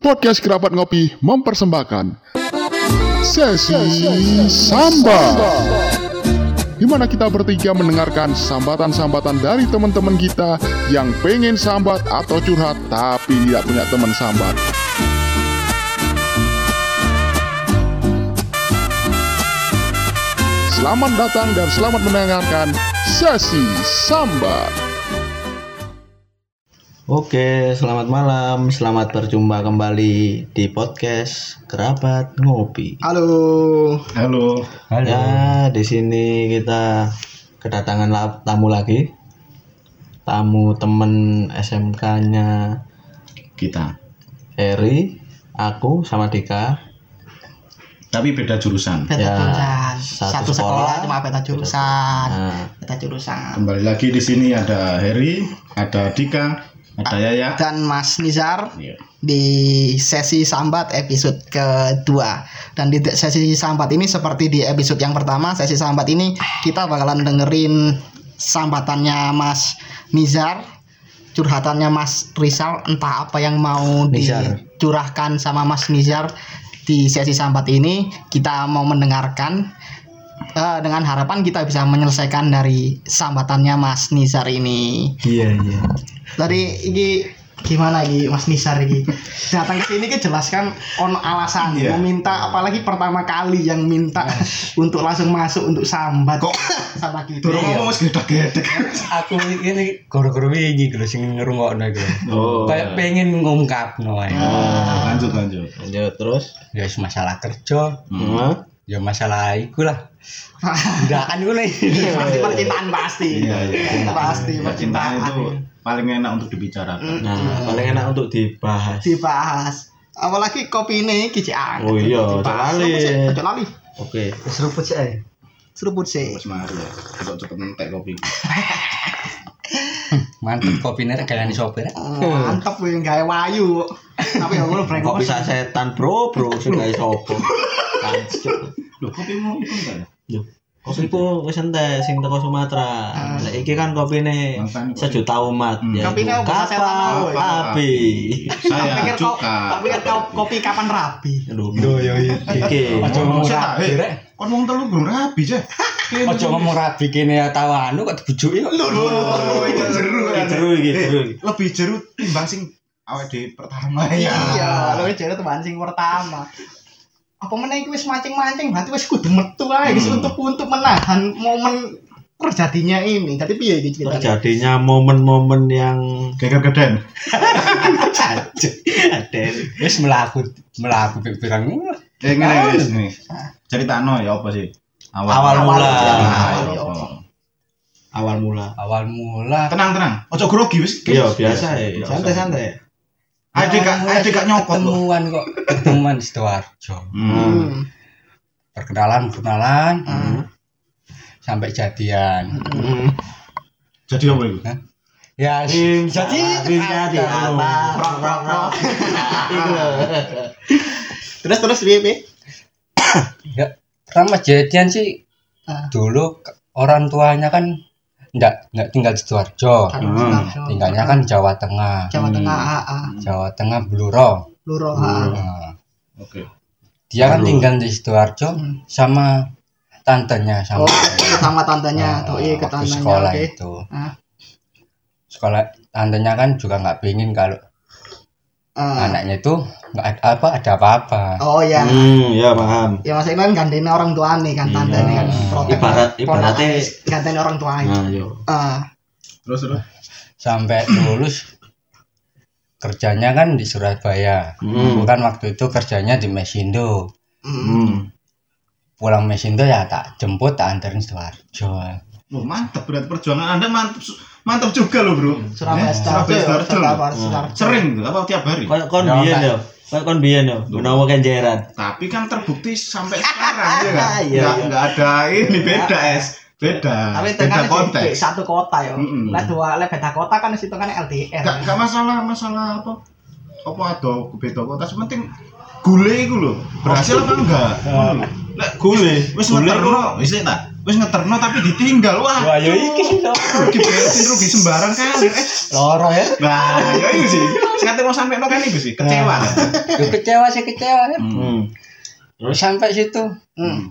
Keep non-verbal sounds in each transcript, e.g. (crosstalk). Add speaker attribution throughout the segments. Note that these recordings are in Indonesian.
Speaker 1: Podcast Kerabat Ngopi mempersembahkan Sesi Samba di mana kita bertiga mendengarkan sambatan-sambatan dari teman-teman kita yang pengen sambat atau curhat tapi tidak punya teman sambat. Selamat datang dan selamat mendengarkan Sesi Sambat.
Speaker 2: Oke, selamat malam. Selamat berjumpa kembali di podcast Kerabat Ngopi.
Speaker 3: Halo.
Speaker 4: Halo,
Speaker 2: Ya, di sini kita kedatangan la- tamu lagi. Tamu temen SMK-nya
Speaker 4: kita.
Speaker 2: Eri, aku sama Dika.
Speaker 4: Tapi beda jurusan.
Speaker 3: Peta
Speaker 2: Ya,
Speaker 3: jurusan.
Speaker 2: satu
Speaker 3: Satu
Speaker 2: sekolah.
Speaker 3: sekolah cuma peta jurusan.
Speaker 2: Nah,
Speaker 3: Peta jurusan.
Speaker 4: Kembali lagi di sini ada Heri, ada Dika, ada Yaya.
Speaker 3: Dan Mas Nizar
Speaker 4: Iya.
Speaker 3: di sesi sambat episode kedua. Dan di sesi sambat ini seperti di episode yang pertama, sesi sambat ini kita bakalan dengerin sambatannya Mas Nizar, curhatannya Mas Rizal, entah apa yang mau
Speaker 2: Nizar.
Speaker 3: dicurahkan sama Mas Nizar di sesi sambat ini kita mau mendengarkan Eh, dengan harapan kita bisa menyelesaikan dari sambatannya Mas Nizar ini.
Speaker 2: iya iya.
Speaker 3: Tadi ini gimana iki Mas Nizar ini datang ke sini ki jelaskan on alasan
Speaker 4: Iya.
Speaker 3: meminta apalagi pertama kali yang minta (laughs) untuk langsung masuk untuk (laughs) sambat kok sama kita.
Speaker 4: Dorong
Speaker 3: Iya.
Speaker 4: ngomong wis gedek-gedek.
Speaker 5: aku ini goro-goro wingi gitu loh sing ngrungokno iku.
Speaker 4: Oh.
Speaker 5: Kayak pengen ngungkapno ae.
Speaker 4: Oh, lanjut lanjut. Hmm.
Speaker 2: Lanjut terus.
Speaker 5: Ya wis masalah kerja,
Speaker 2: Nah,
Speaker 5: ya masalah iku lah. Ndakan iku lah.
Speaker 3: Iya, pasti percintaan pasti.
Speaker 4: Iya, iya.
Speaker 3: Pasti
Speaker 4: Ya, cinta
Speaker 3: percintaan.
Speaker 4: itu paling enak untuk dibicarakan.
Speaker 2: Nah, paling enak untuk dibahas.
Speaker 3: Dibahas. Apalagi kopi ini kici anget.
Speaker 2: Oh iya,
Speaker 3: Dibahas.
Speaker 2: cok lali.
Speaker 3: Cok lali.
Speaker 2: Oke.
Speaker 5: Seruput sih. eh.
Speaker 3: Seruput sih.
Speaker 4: Wis mari ya. Kita cepet nentek kopi.
Speaker 5: Mantep kopine rek kalian sopir.
Speaker 3: mantap yang gaya wayu tapi ya gue brengkok
Speaker 2: Kok bisa setan, Bro? Bro, sing gawe (laughs) sopo? Kancuk.
Speaker 4: Loh, kopi mau itu enggak ya?
Speaker 2: Kopi ku
Speaker 4: gitu.
Speaker 2: wis entek sing teko Sumatera. Lah iki kan kopine
Speaker 4: Mantan kopi.
Speaker 2: sejuta umat
Speaker 4: Hmm.
Speaker 2: ya.
Speaker 3: Ah. Kopine apa? Setan
Speaker 2: kapal
Speaker 3: apa?
Speaker 2: api.
Speaker 4: Ah, Saya
Speaker 3: ya. pikir kau
Speaker 4: Cuka.
Speaker 3: tapi kan kau kopi kapan rapi
Speaker 2: Lho,
Speaker 5: yo yo.
Speaker 4: (laughs)
Speaker 2: iki.
Speaker 5: Ojo ngomong rabi rek.
Speaker 4: Kon wong telu belum rabi, Cek.
Speaker 5: Ojo ngomong rabi kene ya tahu anu kok dibujuki kok.
Speaker 4: Oh, iki jeru.
Speaker 2: Iki jeru, iki jeru.
Speaker 4: Lebih jeru timbang sing awake dhewe pertama ya.
Speaker 3: iya lo jadi teman sing pertama apa meneh iki wis mancing-mancing berarti wis kudu metu ae wis untuk untuk menahan momen terjadinya ini tapi piye iki ceritanya
Speaker 2: Terjadinya momen-momen yang (laughs)
Speaker 4: Geger-geden.
Speaker 2: ada
Speaker 5: Wis melaku melaku pirang ngono.
Speaker 4: Eh
Speaker 2: Iya,
Speaker 4: ngene wis nih. Ceritano ya apa sih?
Speaker 2: Awal mula.
Speaker 4: Ah, ya
Speaker 3: Awal
Speaker 4: apa?
Speaker 2: awal mula.
Speaker 5: Awal mula
Speaker 4: Tenang tenang. Ojo grogi wis.
Speaker 2: Iya, biasa
Speaker 4: ya.
Speaker 2: ya. Santai-santai.
Speaker 4: Ade gak ade gak nyokot lho.
Speaker 5: ketemuan kok ketemuan di Sidoarjo.
Speaker 4: Hmm.
Speaker 3: Hmm.
Speaker 5: Perkenalan perkenalan sampai jadian.
Speaker 4: Jadi apa itu?
Speaker 5: Ya,
Speaker 2: Jadi
Speaker 5: jadi
Speaker 2: jadi apa? Iku lho.
Speaker 3: terus terus piye piye
Speaker 5: ya pertama jadian sih
Speaker 3: Ah.
Speaker 5: dulu ke- orang tuanya kan enggak enggak tinggal di Sidoarjo. Hmm.
Speaker 3: Oh,
Speaker 5: Tinggalnya
Speaker 3: ah.
Speaker 5: kan Jawa Tengah.
Speaker 3: Jawa Tengah ah, AA
Speaker 5: Jawa Tengah Bluro.
Speaker 3: Luro AA
Speaker 5: Nah,
Speaker 4: Oke.
Speaker 5: dia kan
Speaker 2: Bluro.
Speaker 5: tinggal di Sidoarjo
Speaker 3: Hmm.
Speaker 5: sama tantenya sama Ah,
Speaker 3: oh sama tantenya atau iya ke
Speaker 5: waktu
Speaker 3: tantenya
Speaker 5: sekolah ya.
Speaker 3: oke
Speaker 5: itu.
Speaker 3: Ah.
Speaker 5: Sekolah tantenya kan juga nggak pingin kalau
Speaker 3: Ah.
Speaker 5: anaknya itu nggak ada apa ada apa-apa.
Speaker 3: oh ya
Speaker 2: Hmm, ya paham. Iya.
Speaker 3: ya maksudnya kan gandengnya orang tua nih kan tante nih kan
Speaker 2: Hmm.
Speaker 3: protek
Speaker 2: Ibarat ibaratnya
Speaker 3: Ponakan, gandengnya Nah, orang tua ini
Speaker 2: Nah, yo.
Speaker 3: ah
Speaker 4: Terus terus.
Speaker 3: (coughs)
Speaker 5: sampai lulus kerjanya kan di Surabaya
Speaker 2: Hmm.
Speaker 5: bukan waktu itu kerjanya di Mesindo
Speaker 3: mm.
Speaker 4: Hmm.
Speaker 5: pulang Mesindo ya tak jemput tak anterin Sidoarjo
Speaker 4: Loh, mantap berat perjuangan Anda mantap su- mantap juga loh, Bro. Eh,
Speaker 3: Surabaya Sidoarjo
Speaker 4: Surabaya
Speaker 3: ya,
Speaker 4: Sidoarjo.
Speaker 3: Surabaya Sidoarjo.
Speaker 4: Sering tuh, apa tiap hari?
Speaker 2: Kon kon
Speaker 5: Ya,
Speaker 2: biyen
Speaker 5: Kak.
Speaker 2: yo. Kon kon biyen yo. Menawa kenjeran.
Speaker 4: Tapi kan terbukti sampai sekarang ya kan.
Speaker 2: (laughs) Iya,
Speaker 4: Enggak
Speaker 2: iya.
Speaker 4: enggak ada ini beda es. Beda.
Speaker 3: tapi itu
Speaker 4: Beda
Speaker 3: kan di- di
Speaker 4: konteks.
Speaker 3: satu kota ya
Speaker 4: Mm-mm.
Speaker 3: lah dua lah beda kota kan di situ kan LDR
Speaker 4: Enggak enggak masalah masalah apa? Apa ada beda kota penting gule iku lho. Berhasil apa enggak? Ngono lho. Lek
Speaker 2: Gule.
Speaker 4: wis
Speaker 2: Gule
Speaker 4: ngeterno wis tak Wis ngeterno tapi ditinggal. Wah,
Speaker 5: Wah, yo iki lho.
Speaker 4: rugi bensin, rugi sembarang kan. Eh,
Speaker 5: Loro ya.
Speaker 4: Nah, yo iku sih. Sing ate mau sampe no kan iku sih, kecewa.
Speaker 5: Yo kecewa sih kecewa ya.
Speaker 4: Hmm.
Speaker 5: Terus sampai situ
Speaker 3: Hmm.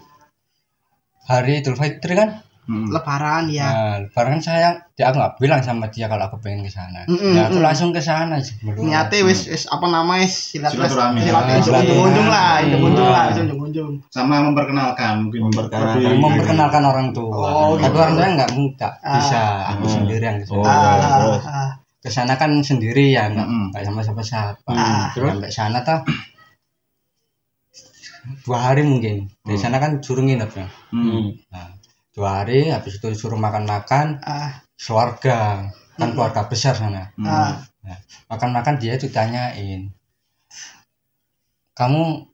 Speaker 5: hari Idul Fitri kan.
Speaker 4: Hmm.
Speaker 3: Lebaran ya.
Speaker 5: Nah, lebaran saya dia aku nggak bilang sama dia kalau aku pengen ke sana.
Speaker 3: Mm-mm,
Speaker 5: Ya, aku
Speaker 3: mm-mm.
Speaker 5: langsung ke sana sih. belum.
Speaker 3: Niatnya wis wis apa namanya silaturahmi.
Speaker 4: Silaturahmi.
Speaker 3: Silaturahmi.
Speaker 5: Ah,
Speaker 3: Unjung-unjung lah,
Speaker 5: silaturahmi.
Speaker 3: unjung-unjung lah,
Speaker 4: Hmm.
Speaker 3: unjung-unjung.
Speaker 4: Sama memperkenalkan mungkin
Speaker 2: Memperkenalkan.
Speaker 4: Lebih-
Speaker 5: memperkenalkan orang tua.
Speaker 3: Oh,
Speaker 5: Tapi
Speaker 4: gitu.
Speaker 5: orang tua nggak nggak
Speaker 3: Ah.
Speaker 5: bisa. Aku
Speaker 4: Oh.
Speaker 5: sendiri yang kesana.
Speaker 4: Oh.
Speaker 3: Ah,
Speaker 4: terus.
Speaker 3: ah,
Speaker 5: Kesana kan sendiri ya, nggak
Speaker 4: Mm-mm.
Speaker 5: nggak sama siapa siapa.
Speaker 3: Ah.
Speaker 5: Terus sampai sana tuh dua hari mungkin. Di sana kan suruh nginep ya.
Speaker 4: Hmm.
Speaker 5: Nah, dua hari habis itu suruh makan-makan
Speaker 3: ah,
Speaker 5: keluarga kan
Speaker 3: Mm.
Speaker 5: keluarga besar sana
Speaker 4: Hmm.
Speaker 3: ah.
Speaker 5: makan-makan dia itu tanyain kamu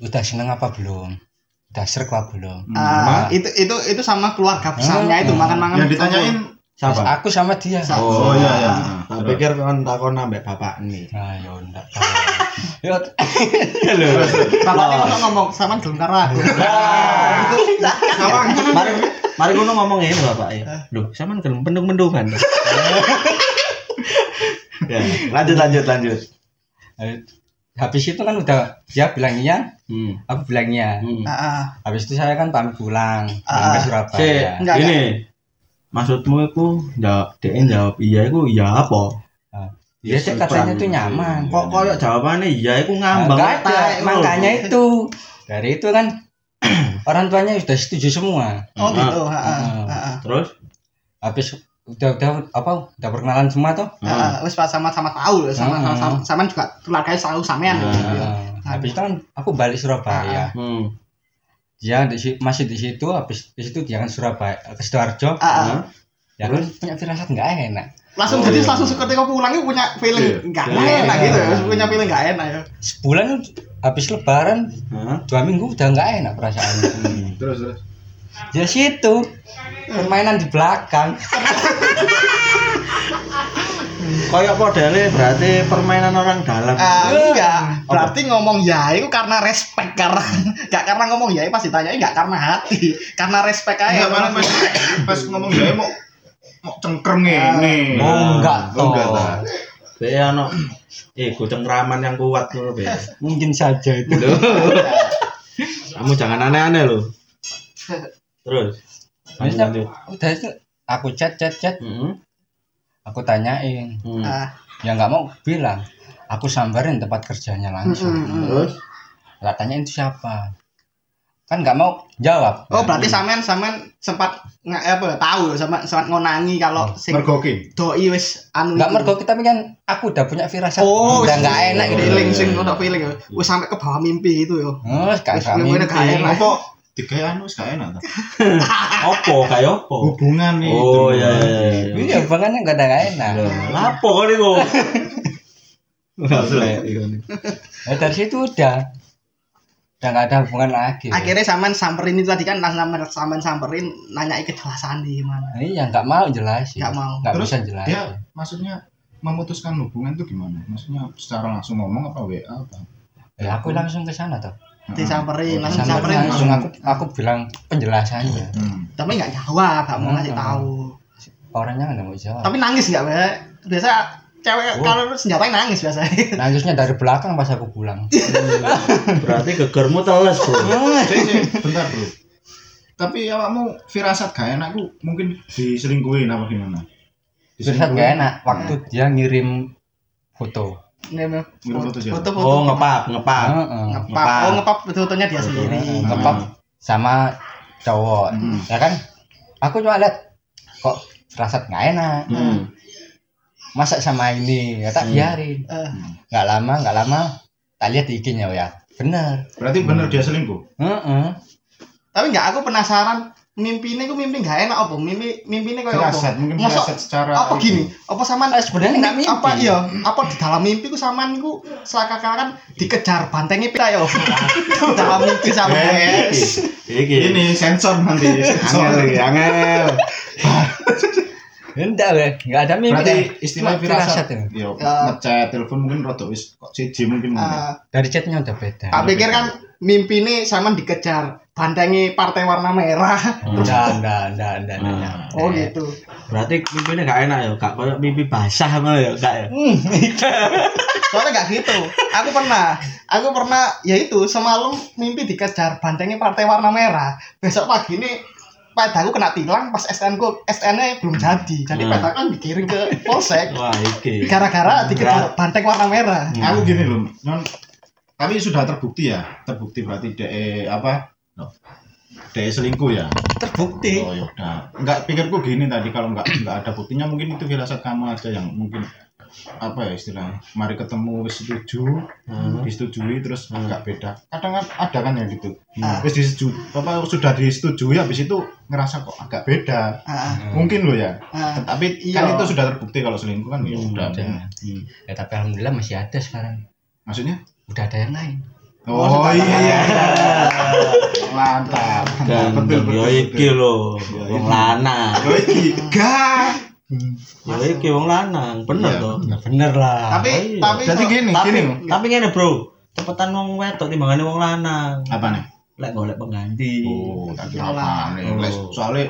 Speaker 5: udah seneng apa belum udah serk apa belum
Speaker 4: Hmm.
Speaker 3: Ah, itu itu itu sama keluarga besarnya itu
Speaker 5: Hmm.
Speaker 3: makan-makan.
Speaker 4: Yang ditanyain
Speaker 5: Terus
Speaker 2: Siapa?
Speaker 5: aku sama dia
Speaker 3: Sa-
Speaker 4: Oh, iya ya.
Speaker 2: Tak pikir kon takon ambek bapak nih.
Speaker 5: nah ya enggak tahu. ya ya lho.
Speaker 3: Bapaknya ngomong ngomong sama gelem karo aku.
Speaker 2: Sama (laughs) mari mari ngono ngomong ngene bapak ya. Loh, sampean gelem pendung-pendungan. ya, lanjut lanjut lanjut.
Speaker 5: Eh, habis itu kan udah dia bilang iya
Speaker 2: Hmm.
Speaker 5: aku bilang iya
Speaker 2: Hmm.
Speaker 3: Ah, ah.
Speaker 5: habis itu saya kan pamit pulang pulang ke
Speaker 3: Ah.
Speaker 5: Surabaya Ya,
Speaker 2: Sik,
Speaker 3: Enggak,
Speaker 2: ini maksudmu iku jawab dhek jawab iya iku iya apa?
Speaker 5: dia cek katanya tuh nyaman
Speaker 2: Kok koyo jawabane iya iku ngambang
Speaker 5: Enggak ada,
Speaker 2: wae, lho.
Speaker 5: (laughs) makanya itu. Dari itu kan (clears throat) orang tuanya sudah setuju semua.
Speaker 3: Oh gitu. ah, ah,
Speaker 5: Ah.
Speaker 3: ah, ah.
Speaker 2: Terus
Speaker 5: Habis udah udah apa udah perkenalan semua toh.
Speaker 3: Ah, Wis pas sama-sama tahu loh, sama sama- sama sama juga keluarganya selalu sampean
Speaker 2: Ah.
Speaker 3: gitu.
Speaker 5: Nah, habis itu kan aku balik Surabaya.
Speaker 2: hmm.
Speaker 5: Dia di si- masih di situ habis di situ dia kan Surabaya ke Sidoarjo.
Speaker 3: Ah, ah.
Speaker 5: Ya kan punya firasat enggak enak.
Speaker 3: Langsung
Speaker 2: Oh,
Speaker 3: jadi
Speaker 2: iya.
Speaker 3: langsung suka ketika pulang itu punya
Speaker 4: Hmm. Iya.
Speaker 3: feeling enggak
Speaker 2: Iya.
Speaker 3: enak gitu. ya.
Speaker 5: Iya.
Speaker 3: Punya feeling enggak enak ya.
Speaker 5: Hmm. Sebulan habis lebaran
Speaker 2: Hah?
Speaker 5: dua minggu udah enggak enak perasaannya.
Speaker 4: (laughs) Terus terus.
Speaker 5: Dia situ permainan di belakang.
Speaker 2: Koyo modele berarti permainan orang dalam.
Speaker 3: Ah, enggak. Berarti ngomong ya itu karena respect karena (laughs) enggak karena ngomong ya pasti tanya enggak karena hati, (laughs) karena respect aja.
Speaker 4: Enggak malah pas Eh, pas ngomong ya mau mau cengker ngene.
Speaker 5: Oh, enggak
Speaker 4: Oh, enggak,
Speaker 5: toh.
Speaker 4: tak.
Speaker 2: Be ono eh go cengkraman yang kuat ngono be.
Speaker 5: Mungkin saja
Speaker 2: (laughs)
Speaker 5: itu.
Speaker 2: Lho. Kamu jangan aneh-aneh lho. Terus.
Speaker 5: Habis
Speaker 2: Lanjut, lanjut.
Speaker 5: itu, udah itu aku chat chat chat
Speaker 2: Heeh.
Speaker 5: aku tanyain
Speaker 2: Hmm.
Speaker 3: Ah,
Speaker 5: ya nggak mau bilang aku sambarin tempat kerjanya langsung
Speaker 3: mm, mm, mm.
Speaker 2: Terus
Speaker 5: lah tanyain itu siapa kan nggak mau jawab
Speaker 3: Oh, berarti sampean sampean sempat nggak apa tahu sama sempat ngonangi kalau sing
Speaker 4: Mergoki.
Speaker 3: doi wis anu
Speaker 5: nggak
Speaker 3: itu.
Speaker 5: mergo kita kan aku udah punya firasat
Speaker 3: Oh,
Speaker 5: udah
Speaker 3: wis-
Speaker 5: nggak enak gitu
Speaker 3: feeling sing ono feeling ya. Wis sampai ke bawah mimpi itu ya. yo.
Speaker 5: Oh,
Speaker 3: Wis bener-bener nggak enak.
Speaker 4: Apa tiga anu wis gak enak ta?
Speaker 2: opo kayak opo?
Speaker 4: Hubungan nih.
Speaker 2: Oh iya iya iya.
Speaker 5: Iya, bahkan nggak ada nggak enak.
Speaker 2: Lapo kali (laughs) kok. Enggak selek iku.
Speaker 5: Nah, dari situ udah, udah nggak ada hubungan lagi.
Speaker 3: Akhirnya sampean samperin itu tadi kan langsung sampean- sampean samperin nanya kejelasan di mana.
Speaker 5: Iya, nggak mau jelasin.
Speaker 3: Nggak mau.
Speaker 5: Nggak
Speaker 4: Terus
Speaker 5: bisa jelasin.
Speaker 4: Dia maksudnya memutuskan hubungan itu gimana? Maksudnya secara langsung ngomong apa WA apa?
Speaker 5: Ya, aku langsung ke sana tuh.
Speaker 3: Disamperin, langsung
Speaker 5: iya, Samperin
Speaker 3: samperin.
Speaker 5: langsung aku aku bilang penjelasannya.
Speaker 4: Hmm.
Speaker 3: Tapi nggak jawab, nggak mau ngasih
Speaker 5: Hmm.
Speaker 3: tahu.
Speaker 5: Orangnya nggak mau jawab.
Speaker 3: Tapi nangis nggak, Mbak? Biasa cewek
Speaker 5: Oh.
Speaker 3: kalau senjatanya nangis
Speaker 5: (laughs)
Speaker 3: biasanya.
Speaker 5: Nangisnya dari belakang pas aku pulang.
Speaker 2: Berarti gegermu teles, Bro.
Speaker 4: Sik, sik, bentar bro. Tapi awakmu firasat gak enak ku mungkin diselingkuhin apa gimana?
Speaker 5: Terus gak enak waktu
Speaker 3: Iya.
Speaker 5: dia ngirim foto.
Speaker 3: Ini,
Speaker 4: Ngirim foto siapa?
Speaker 3: Foto-foto.
Speaker 2: Oh,
Speaker 5: gitu.
Speaker 2: ngepap,
Speaker 3: Ah,
Speaker 2: ngepap.
Speaker 5: Heeh.
Speaker 3: Ngepap. Oh, ngepap fotonya dia sendiri.
Speaker 4: Ngepap.
Speaker 5: Ngepop sama cowok.
Speaker 4: Hmm.
Speaker 5: Ya kan? Aku cuma lihat kok rasa nggak enak.
Speaker 2: Hmm.
Speaker 5: Masa sama ini ya tak biarin.
Speaker 3: Eh,
Speaker 5: Nggak lama, nggak lama tak lihat di IG-nya ya. Bener.
Speaker 4: Berarti bener dia selingkuh.
Speaker 5: Heeh.
Speaker 3: tapi nggak aku penasaran mimpinya aku mimpi nggak enak apa mimpi mimpinya kayak
Speaker 4: Firasat,
Speaker 3: apa
Speaker 4: mungkin
Speaker 3: Mosok-
Speaker 4: firasat secara
Speaker 3: apa gini apa sama
Speaker 5: Nah, Eh, sebenarnya nggak mimpi.
Speaker 3: apa iya apa di dalam mimpi ku sama niku seakan-akan dikejar bantengnya pita
Speaker 5: (laughs)
Speaker 3: yo dalam mimpi sama
Speaker 4: Eh,
Speaker 3: yes.
Speaker 2: Iki.
Speaker 4: Ini sensor (laughs) nanti.
Speaker 2: Angel
Speaker 4: Sensor.
Speaker 2: iki, angel.
Speaker 5: Enggak, weh. nggak ada mimpi.
Speaker 4: Berarti
Speaker 5: deh.
Speaker 4: istilah
Speaker 5: Cuma
Speaker 4: firasat.
Speaker 5: ya.
Speaker 4: Yo,
Speaker 3: Ya.
Speaker 4: ngechat telepon mungkin rada wis kok siji mungkin.
Speaker 3: Eh,
Speaker 4: ngono.
Speaker 5: Dari chatnya udah beda.
Speaker 3: tak pikir kan mimpi ini sama dikejar bandangi partai warna merah terus
Speaker 2: Enggak, enggak, enggak, enggak, enggak, enggak.
Speaker 5: Hmm.
Speaker 3: oh
Speaker 5: Eh.
Speaker 3: gitu
Speaker 2: Berarti mimpinya gak enak ya, gak kayak mimpi basah malah ya, gak ya.
Speaker 3: soalnya nggak gitu aku pernah aku pernah ya itu semalam mimpi dikejar bandangi partai warna merah besok pagi ini pedaku kena tilang pas SN ku SN nya belum jadi jadi
Speaker 2: Hmm.
Speaker 3: pedaku kan dikirim ke polsek
Speaker 2: Wah, iki.
Speaker 3: gara-gara dikejar banteng warna merah
Speaker 4: aku gini loh non tapi sudah terbukti ya terbukti berarti de apa no. de selingkuh ya
Speaker 2: Terbukti.
Speaker 4: oh yaudah nggak pikirku gini tadi kalau nggak nggak ada buktinya mungkin itu firasat kamu aja yang mungkin apa ya istilahnya mari ketemu wis setuju
Speaker 2: Hmm.
Speaker 4: disetujui terus nggak beda kadang kan ada kan ya gitu
Speaker 3: Ah.
Speaker 4: wis disetuju apa sudah disetujui habis itu ngerasa kok agak beda
Speaker 3: Ah,
Speaker 4: mungkin loh ya
Speaker 3: ah.
Speaker 4: tapi
Speaker 3: Iya.
Speaker 4: kan itu sudah terbukti kalau selingkuh kan ya
Speaker 2: Hmm,
Speaker 4: udah
Speaker 5: udah.
Speaker 4: Hmm.
Speaker 5: ya tapi alhamdulillah masih ada sekarang
Speaker 4: maksudnya
Speaker 5: udah ada yang lain
Speaker 4: Oh,
Speaker 3: Oh,
Speaker 4: iya,
Speaker 3: (laughs)
Speaker 4: iya.
Speaker 3: mantap
Speaker 2: Dan
Speaker 4: Betul, betul,
Speaker 2: yo iki lho, wong lanang.
Speaker 4: Yo iki.
Speaker 3: gah
Speaker 2: Yo iki wong lanang, bener
Speaker 4: Iya,
Speaker 2: to.
Speaker 5: nah, bener lah
Speaker 3: tapi
Speaker 2: iya.
Speaker 3: tapi
Speaker 4: Jadi
Speaker 3: so-
Speaker 4: gini,
Speaker 2: Tapi
Speaker 4: gini.
Speaker 2: tapi ngene, Bro. Cepetan wong wedok timbangane wong lanang.
Speaker 4: Apa nih?
Speaker 2: Lek golek pengganti.
Speaker 4: Oh, tak kira
Speaker 3: Salah.
Speaker 4: apa nih.
Speaker 2: Oh.
Speaker 4: Les, Soalnya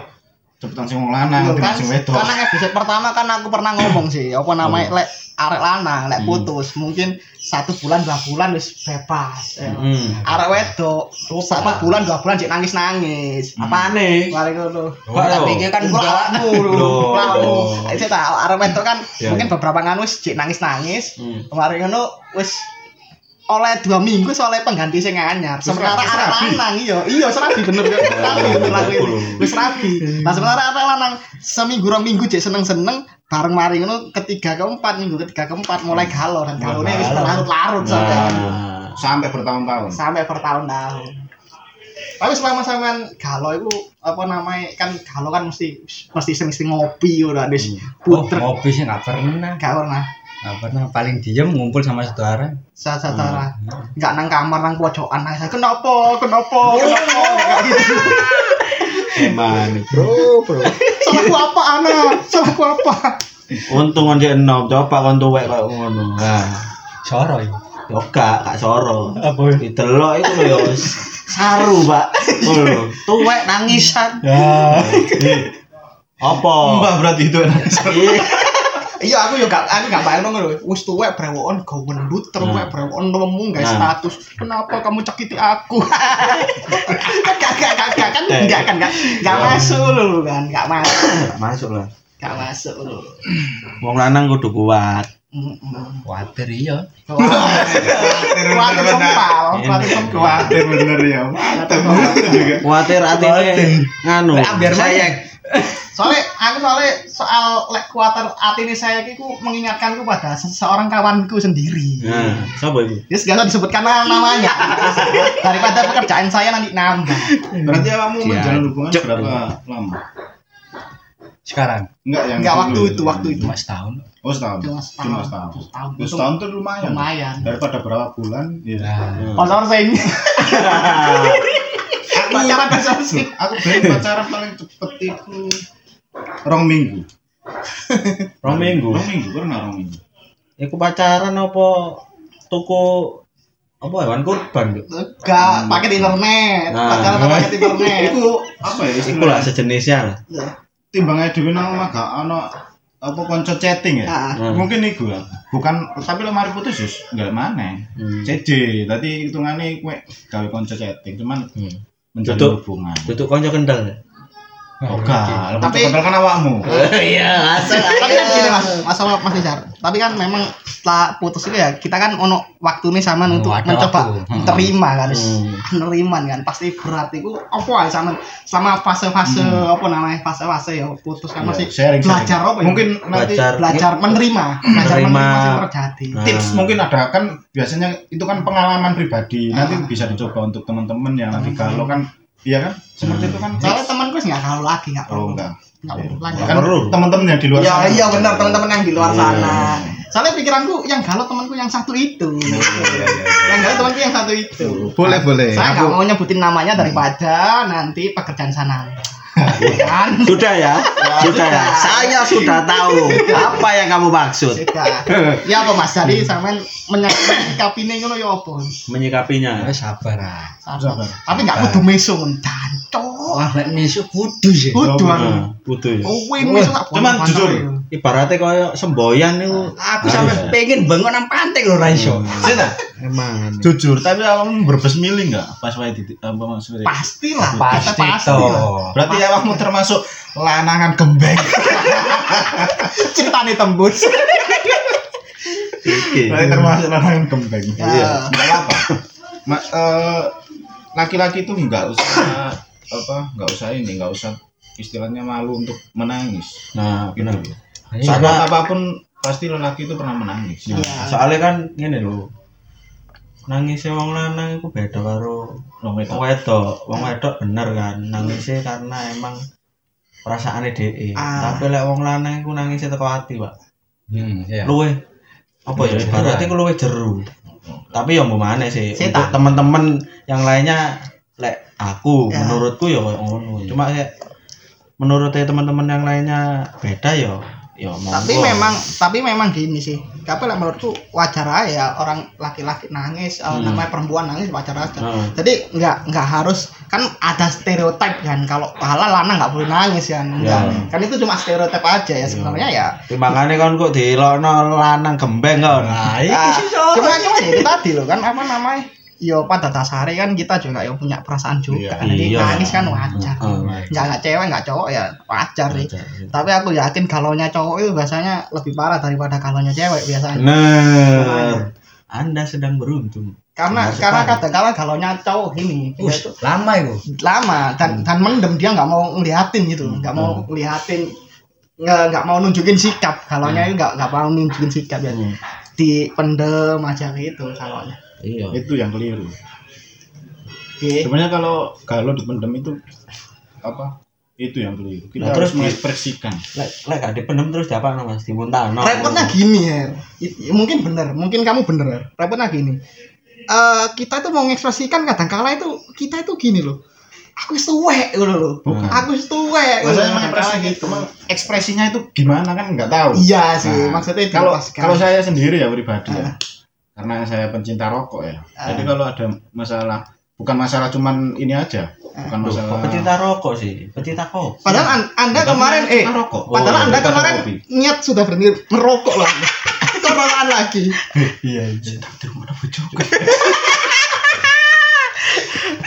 Speaker 4: cepetan sing wong lanang,
Speaker 3: Loh,
Speaker 4: timbang
Speaker 3: kan,
Speaker 4: sing wedok.
Speaker 3: karena episode pertama kan aku pernah ngomong sih apa namanya lek arek lanang lek putus mungkin satu bulan dua bulan wis bebas ya.
Speaker 2: Hmm.
Speaker 3: arek wedok sama bulan dua bulan cek nangis nangis apa
Speaker 2: Apane?
Speaker 3: Mari ngono.
Speaker 5: Wah,
Speaker 3: Tak
Speaker 5: loh.
Speaker 3: pikir kan
Speaker 5: Enggak.
Speaker 3: kulamu lho.
Speaker 2: Loh.
Speaker 3: Kulamu. Saya tak arep wedok kan
Speaker 2: Ya.
Speaker 3: mungkin beberapa nganu wis cek nangis-nangis.
Speaker 2: Hmm.
Speaker 3: Mari ngono wis oleh dua minggu soalnya pengganti sing anyar. Sementara
Speaker 4: rabi,
Speaker 3: arek
Speaker 4: rabi.
Speaker 3: lanang iya, iya serabi bener ya. Tahu bener aku
Speaker 2: iya,
Speaker 3: ini.
Speaker 2: iya.
Speaker 3: Wis rabi. Nah sementara arek lanang seminggu rong minggu cek seneng-seneng bareng mari ngono ketiga keempat minggu ketiga keempat mulai galau dan galone wis
Speaker 2: galau.
Speaker 3: larut-larut sampai
Speaker 2: Nah,
Speaker 4: Sampai bertahun-tahun.
Speaker 3: sampai bertahun-tahun tapi selama sampean galau itu apa namanya kan galau kan mesti mesti sering sering ngopi udah des
Speaker 2: Hmm.
Speaker 5: oh,
Speaker 3: puter
Speaker 5: ngopi sih nggak pernah
Speaker 3: gak pernah
Speaker 5: nggak pernah paling diem ngumpul sama saudara
Speaker 3: saat saat orang nggak nang kamar nang pojokan nang saya kenapa kenapa kenapa Nggak gitu
Speaker 2: Gimana, Bro, Bro.
Speaker 3: salahku apa anak salahku apa
Speaker 2: Untung kon jek enom, coba kon tuwek koyo ngono. Nah,
Speaker 5: soro ya
Speaker 2: yo gak, gak soro.
Speaker 5: apa
Speaker 2: Didelok itu lho yo saru, Pak. Oh, lho. Tuwek nangisan.
Speaker 5: ya
Speaker 2: Apa?
Speaker 4: Mbah berarti itu enak.
Speaker 2: Iya.
Speaker 3: iya aku juga aku nggak bayang dong loh wis tuwek brewon kau gendut terwek brewon lemu guys
Speaker 2: Nah.
Speaker 3: status kenapa kamu cekiti aku kan gak gak gak gak kan
Speaker 2: Eh.
Speaker 3: nggak kan nggak nggak masuk loh kan nggak masuk
Speaker 2: Masuk lah.
Speaker 3: nggak masuk loh
Speaker 2: Wong lanang kudu kuat.
Speaker 3: Mm-mm.
Speaker 5: khawatir iya
Speaker 3: Kuatir sempal, kuatir sempal.
Speaker 4: Kuatir bener ya. Mantap, mantap juga.
Speaker 2: Kuatir atine nganu.
Speaker 5: Ah,
Speaker 3: Ambiar
Speaker 2: sayang.
Speaker 3: saya. Soalnya aku soalnya soal lek kuatir hati ini saya ku mengingatkanku pada seseorang kawanku sendiri.
Speaker 2: Nah, sapa iku?
Speaker 3: Ya segala disebutkan lah namanya. Daripada pekerjaan saya nanti nambah.
Speaker 4: Berarti awakmu
Speaker 5: Iya.
Speaker 4: menjalin hubungan
Speaker 2: Cep.
Speaker 4: berapa lama?
Speaker 5: sekarang
Speaker 4: Enggak ya, yang
Speaker 3: Enggak
Speaker 4: dulu.
Speaker 3: waktu itu, waktu itu.
Speaker 5: cuma setahun
Speaker 4: Oh, setahun.
Speaker 3: Cuma
Speaker 4: Cuma
Speaker 3: setahun.
Speaker 4: setahun.
Speaker 3: Setahun.
Speaker 4: Ya, Setahun tuh lumayan.
Speaker 3: Lumayan.
Speaker 4: Daripada berapa bulan? Iya.
Speaker 2: Nah.
Speaker 5: lah
Speaker 3: Pasar sing.
Speaker 4: (laughs)
Speaker 3: Pacaran pasar sing.
Speaker 4: Aku dari pacaran paling cepet itu rong minggu.
Speaker 2: Rong minggu.
Speaker 4: Rong minggu pernah rong minggu.
Speaker 2: Iku pacaran apa tuku apa hewan kurban? Cuk?
Speaker 3: Enggak, paket internet.
Speaker 2: Nah.
Speaker 3: Pacaran (laughs) sama paket internet.
Speaker 4: Iku apa ya
Speaker 2: Iku lah
Speaker 4: istilah?
Speaker 2: sejenisnya lah.
Speaker 4: Timbangnya dhewe nang omah gak ono apa konco chatting ya.
Speaker 3: Nah,
Speaker 2: Hmm.
Speaker 4: Mungkin iku lah. Bukan tapi lek mari putus Yus, enggak maneh.
Speaker 2: Hmm.
Speaker 4: CD, tadi hitungane kowe gawe konco chatting cuman
Speaker 2: Hmm.
Speaker 4: menjalin
Speaker 2: Tutup.
Speaker 4: hubungan.
Speaker 2: Duduk konco kendal.
Speaker 4: Oke, tapi
Speaker 3: Tapi-
Speaker 4: kan awakmu.
Speaker 2: Iya, asal.
Speaker 3: tapi kan gini mas masalah mas Nizar tapi kan memang setelah putus itu ya kita kan ono waktu nih sama untuk
Speaker 5: ada
Speaker 3: mencoba
Speaker 5: waktu. Hmm.
Speaker 3: terima kan
Speaker 2: Hmm.
Speaker 3: penerimaan kan pasti berat itu apa ya sama sama fase-fase apa namanya fase-fase ya putus kan masih
Speaker 4: sharing, sharing.
Speaker 3: belajar apa ya?
Speaker 4: Mungkin nanti
Speaker 2: Belajar.
Speaker 3: belajar menerima belajar
Speaker 2: Menerima.
Speaker 3: menerima sih terjadi
Speaker 2: Nah.
Speaker 4: tips mungkin ada kan biasanya itu kan pengalaman pribadi nanti bisa dicoba untuk teman-teman yang nanti kalau kan iya kan seperti itu kan
Speaker 3: soalnya temanku sih nggak kalau lagi nggak
Speaker 4: oh
Speaker 3: perlu
Speaker 4: enggak
Speaker 3: nggak
Speaker 4: Iya.
Speaker 3: perlu lagi
Speaker 4: kan
Speaker 2: perlu.
Speaker 4: teman-teman yang di luar
Speaker 3: Ya
Speaker 4: sana
Speaker 3: iya benar teman-teman yang di luar
Speaker 2: Iya.
Speaker 3: sana. Soalnya pikiranku yang galau temanku yang satu itu. yang galau temanku yang satu itu.
Speaker 4: boleh boleh
Speaker 3: Saya
Speaker 4: aku
Speaker 3: nggak mau nyebutin namanya daripada nanti pekerjaan sana. Bukan.
Speaker 2: Sudah ya? Sudah ya.
Speaker 3: sudah.
Speaker 2: Saya sudah tahu apa yang kamu maksud.
Speaker 3: Sudah. Ya apa Mas? Jadi sampean menyikapi ini ngono ya apa?
Speaker 2: Menyikapinya.
Speaker 5: Wis sabar ah.
Speaker 3: Sabar. Tapi gak kudu meso tanto.
Speaker 5: Wah, nek nisu kudu sih.
Speaker 3: Kudu aku.
Speaker 2: Nah, Butuh ya.
Speaker 3: Kowe meso tak
Speaker 4: Cuman
Speaker 3: bono
Speaker 4: jujur.
Speaker 3: mantel.
Speaker 2: Ibaratnya kaya semboyan itu.
Speaker 5: Aku sampe pengen bangun nang pantai lho ra iso.
Speaker 4: Sita,
Speaker 5: Emang.
Speaker 4: jujur, tapi awakmu berbes milih nggak pas wae titik apa maksudnya?
Speaker 3: Pasti lah.
Speaker 5: Pasti
Speaker 3: Kita pasti
Speaker 5: toh.
Speaker 3: lah.
Speaker 4: Berarti awakmu termasuk lanangan (laughs) gembeng.
Speaker 3: Ceritane tembus.
Speaker 2: Iki.
Speaker 4: Berarti termasuk lanangan gembeng. Ah.
Speaker 3: Iya.
Speaker 4: Iya. Enggak apa. Ma- eh, laki-laki itu nggak usah apa, nggak usah ini, nggak usah istilahnya malu untuk menangis.
Speaker 2: Nah,
Speaker 4: Gitu.
Speaker 2: benar.
Speaker 4: Saat
Speaker 2: Karena
Speaker 4: apapun pasti lelaki itu pernah menangis.
Speaker 2: soalnya kan ngene lho. Nangisnya wong lanang iku beda karo wong
Speaker 4: Wong wedok.
Speaker 2: wedok. Wong wedok bener kan nangisnya karena emang perasaannya dhewe.
Speaker 3: Ah.
Speaker 2: Tapi lek wong lanang iku nangisnya teko ati, Pak.
Speaker 5: Hmm, ya.
Speaker 2: luwe apa ya ibaratnya ku luwe jeru tapi ya mau mana sih
Speaker 3: Saya
Speaker 2: untuk
Speaker 3: tak-
Speaker 2: teman-teman yang lainnya lek aku
Speaker 3: Ya.
Speaker 2: menurutku ya kayak ngono cuma kayak menurut teman-teman yang lainnya beda ya ya monggo.
Speaker 3: tapi memang tapi memang gini sih tapi lah menurutku wajar aja ya orang laki-laki nangis eh,
Speaker 2: Hmm.
Speaker 3: namanya perempuan nangis wajar aja
Speaker 2: Hmm.
Speaker 3: jadi nggak nggak harus kan ada stereotip kan kalau pala lana nggak boleh nangis kan Nggak.
Speaker 2: Ya.
Speaker 3: kan itu cuma stereotip aja ya sebenarnya ya
Speaker 2: Tapi makanya kan kok dilokno lanang gembeng kan nah
Speaker 3: Ah,
Speaker 2: iki sih
Speaker 3: cuma cuma ya itu tadi loh kan apa namanya yo pada dasarnya kan kita juga yang punya perasaan juga
Speaker 2: Iya.
Speaker 3: jadi
Speaker 2: Iya. Hmm.
Speaker 3: nangis kan wajar
Speaker 2: Heeh.
Speaker 3: nggak nggak cewek nggak cowok ya wajar sih tapi aku yakin galonya cowok itu biasanya lebih parah daripada galonya cewek biasanya
Speaker 2: bener anda sedang beruntung
Speaker 3: karena
Speaker 2: Benar
Speaker 3: karena
Speaker 2: sekali.
Speaker 3: kadang kala galonya cowok ini dia
Speaker 5: Us,
Speaker 3: tuh
Speaker 5: lama iku.
Speaker 3: lama dan
Speaker 4: Hmm.
Speaker 3: dan mendem dia nggak mau ngeliatin gitu nggak mau ngeliatin nggak nggak mau nunjukin sikap galonya
Speaker 4: Hmm.
Speaker 3: itu nggak nggak mau nunjukin sikap ya
Speaker 2: Hmm.
Speaker 3: dipendem aja gitu galonya
Speaker 2: iya
Speaker 4: Itu yang keliru.
Speaker 3: Oke.
Speaker 4: Sebenarnya kalau kalau dipendam itu apa? Itu yang keliru. Kita
Speaker 2: Nah,
Speaker 4: harus
Speaker 2: terus di-
Speaker 4: mengekspresikan.
Speaker 2: lek lek gak dipendem terus diapa mas dimuntahno
Speaker 3: repotnya gini ya I- mungkin bener mungkin kamu bener ya. repotnya gini Eh kita tuh mau mengekspresikan kadang kala itu kita itu gini loh aku suwe gitu loh
Speaker 4: Bukan.
Speaker 3: aku suwe gitu.
Speaker 4: Maksudnya
Speaker 3: Kadang
Speaker 4: Eh, mengekspresikan
Speaker 3: kala gitu.
Speaker 4: cuma ekspresinya itu gimana kan nggak tahu.
Speaker 3: iya sih
Speaker 4: Nah,
Speaker 3: maksudnya itu
Speaker 4: kalau
Speaker 3: pas-
Speaker 4: kalau saya sendiri ya pribadi ya karena saya pencinta rokok ya
Speaker 3: Ah.
Speaker 4: jadi kalau ada masalah bukan masalah cuman ini aja bukan
Speaker 2: Loh,
Speaker 4: masalah
Speaker 2: kok pecinta rokok sih pecinta kopi
Speaker 3: Padahal an- Anda kemarin eh
Speaker 4: Pecinta rokok
Speaker 3: padahal
Speaker 2: Oh,
Speaker 3: Anda
Speaker 4: bukan
Speaker 3: kemarin
Speaker 4: iya, kopi.
Speaker 3: niat sudah berhenti merokok (laughs) lah. Coronaan lagi.
Speaker 2: iya iya (laughs)